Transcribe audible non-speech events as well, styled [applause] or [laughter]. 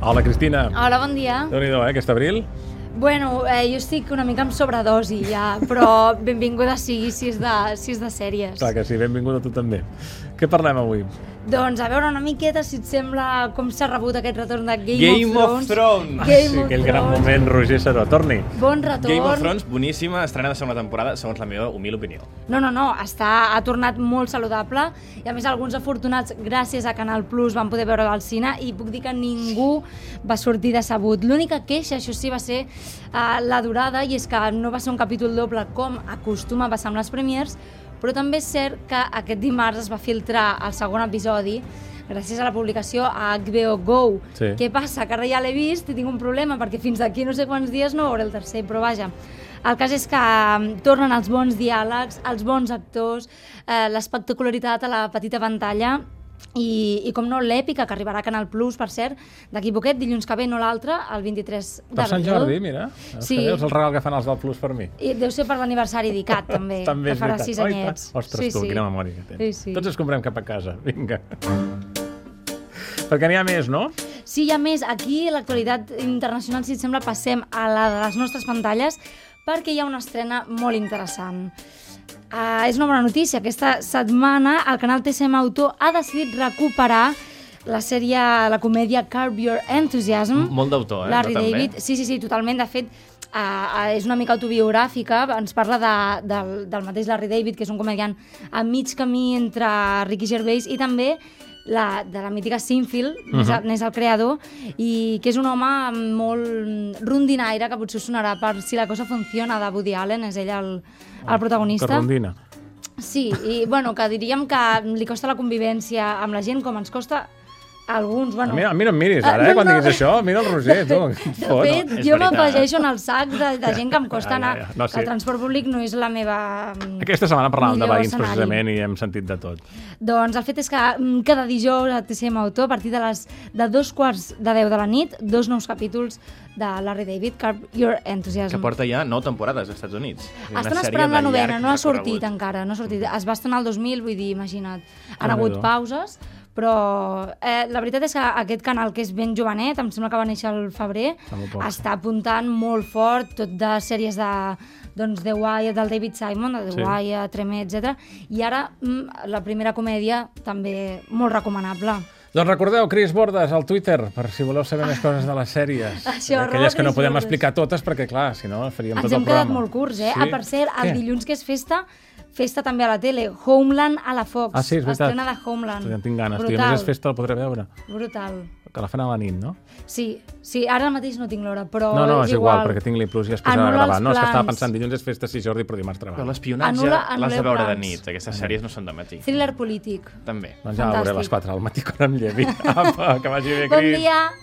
Hola, Cristina. Hola, bon dia. déu nhi eh, aquest abril? Bueno, eh, jo estic una mica amb sobredosi ja, però benvinguda sigui si és de, si és de sèries. Clar que sí, benvingut a tu també. Què parlem avui? Doncs a veure una miqueta si et sembla com s'ha rebut aquest retorn de Game, Game of of Thrones. Thrones. Game sí, of aquell gran Thrones. moment, Roger Saró. Torni. Bon retorn. Game of Thrones, boníssima, estrena de segona temporada, segons la meva humil opinió. No, no, no, està, ha tornat molt saludable i a més alguns afortunats gràcies a Canal Plus van poder veure al cine i puc dir que ningú va sortir decebut. L'única queixa, això sí, va ser uh, la durada i és que no va ser un capítol doble com acostuma a passar amb les premiers, però també és cert que aquest dimarts es va filtrar el segon episodi gràcies a la publicació a HBO Go. Sí. Què passa? Que ara ja l'he vist i tinc un problema perquè fins d'aquí no sé quants dies no veuré el tercer, però vaja. El cas és que mm, tornen els bons diàlegs, els bons actors, eh, l'espectacularitat a la petita pantalla i, i com no, l'èpica que arribarà a Canal Plus, per cert, d'aquí poquet, dilluns que ve, no l'altre, el 23 d'abril. Per Sant Jordi, mira. Sí. És el regal que fan els del Plus per mi. I deu ser per l'aniversari [laughs] d'ICAT, també, també que farà sis Oi, tant. anyets. Ostres, tu, quina memòria que tens. Sí, sí. Tots ens comprem cap a casa. Vinga. Perquè n'hi ha més, no? Sí, hi ha més. Aquí, l'actualitat internacional, si et sembla, passem a la de les nostres pantalles perquè hi ha una estrena molt interessant. Uh, és una bona notícia. Aquesta setmana el canal TCM Autor ha decidit recuperar la sèrie, la comèdia Curb Your Enthusiasm. M- molt d'autor, eh, Larry no, també. David. Sí, sí, sí, totalment. De fet, uh, uh, és una mica autobiogràfica. Ens parla de, del, del mateix Larry David, que és un comediant a mig camí entre Ricky Gervais i també la, de la mítica Sinfield, uh Uh-huh. -huh. n'és el creador, i que és un home molt rondinaire, que potser us sonarà per Si la cosa funciona, de Woody Allen, és ell el, el protagonista. Ah, Que rondina. Sí, i bueno, que diríem que li costa la convivència amb la gent com ens costa a alguns, bueno... A mi, a mi no em miris ara, Ah, eh, quan no, no. diguis això. Mira el Roger, tu. que et [laughs] De fot. fet, és jo veritat. m'afegeixo en el sac de, de gent que em Ja, costa ja, anar, ja. No, sí. que el transport públic no és la meva... mm, Aquesta setmana parlàvem de millor veïns, escenari. precisament, i hem sentit de tot. Doncs el fet és que mm, cada dijous a TCM Autor, a partir de, les, de dos quarts de deu de la nit, dos nous capítols de Larry David, Curb Your Enthusiasm. Que porta ja nou temporades als Estats Units. És Eh, una Estan sèrie esperant la de novena, llarg no ha recorregut. sortit encara, no ha sortit. Mm. Es va estrenar el 2000, vull dir, imagina't. Han Déu-n'hi-do. hagut pauses, però eh, la veritat és que aquest canal, que és ben jovenet, em sembla que va néixer al febrer, Fa molt poc, sí. està apuntant molt fort, tot de sèries de doncs, The Wire, del David Simon, de The Sí. sí. Wire, Tremé, etc. I ara mm, la primera comèdia, també molt recomanable. Doncs recordeu, Cris Bordes, al Twitter, per si voleu saber més coses de les sèries. Ah. Eh, [laughs] Això, arroba Aquelles que no Cris podem Bordes. explicar totes, perquè, clar, si no, faríem Ens tot el hem quedat programa. molt curts, eh? Sí. Ah, per cert, el Què? dilluns que és festa, festa també a la tele, Homeland a la Fox. Ah, sí, és veritat. Estrena de Homeland. Ja en tinc ganes. Brutal. Tu, Brutal. a més, és festa, la podré veure. Brutal. Que la fan a la nit, no? Sí, sí, ara mateix no tinc l'hora, però no, no, és, igual, igual perquè tinc l'Iplus i després Anul·la ha de gravar. els No, és que estava plans. pensant, dilluns és festa, sí, Jordi, però dimarts Però treballa. l'espionatge Anul·la- l'has de anul·leu veure de plans. nit. Aquestes sèries no són de matí. Thriller polític. També. Doncs ja la veuré a les Fantàstic. 4 del matí quan em llevi. [laughs] Apa, que vagi bé, Cris. Bon dia!